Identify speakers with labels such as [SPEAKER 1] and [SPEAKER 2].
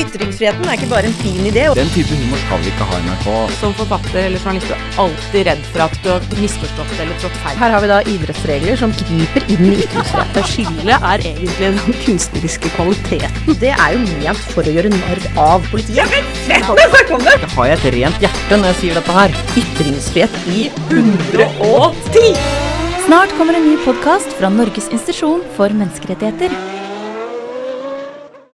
[SPEAKER 1] Ytringsfriheten er ikke bare en fin idé.
[SPEAKER 2] Den type humor skal vi ikke ha i NRK.
[SPEAKER 3] Som forfatter eller journalist er du alltid redd for at du har misforstått eller trådt feil.
[SPEAKER 1] Her har vi da idrettsregler som griper inn i ytringsfriheten.
[SPEAKER 3] Skillet er egentlig den kunstneriske kvaliteten.
[SPEAKER 1] Det er jo ment for å gjøre narr av politiet.
[SPEAKER 2] Det har jeg et rent hjerte når jeg sier dette her.
[SPEAKER 1] Ytringsfrihet i 110!
[SPEAKER 4] Snart kommer en ny podkast fra Norges institusjon for menneskerettigheter.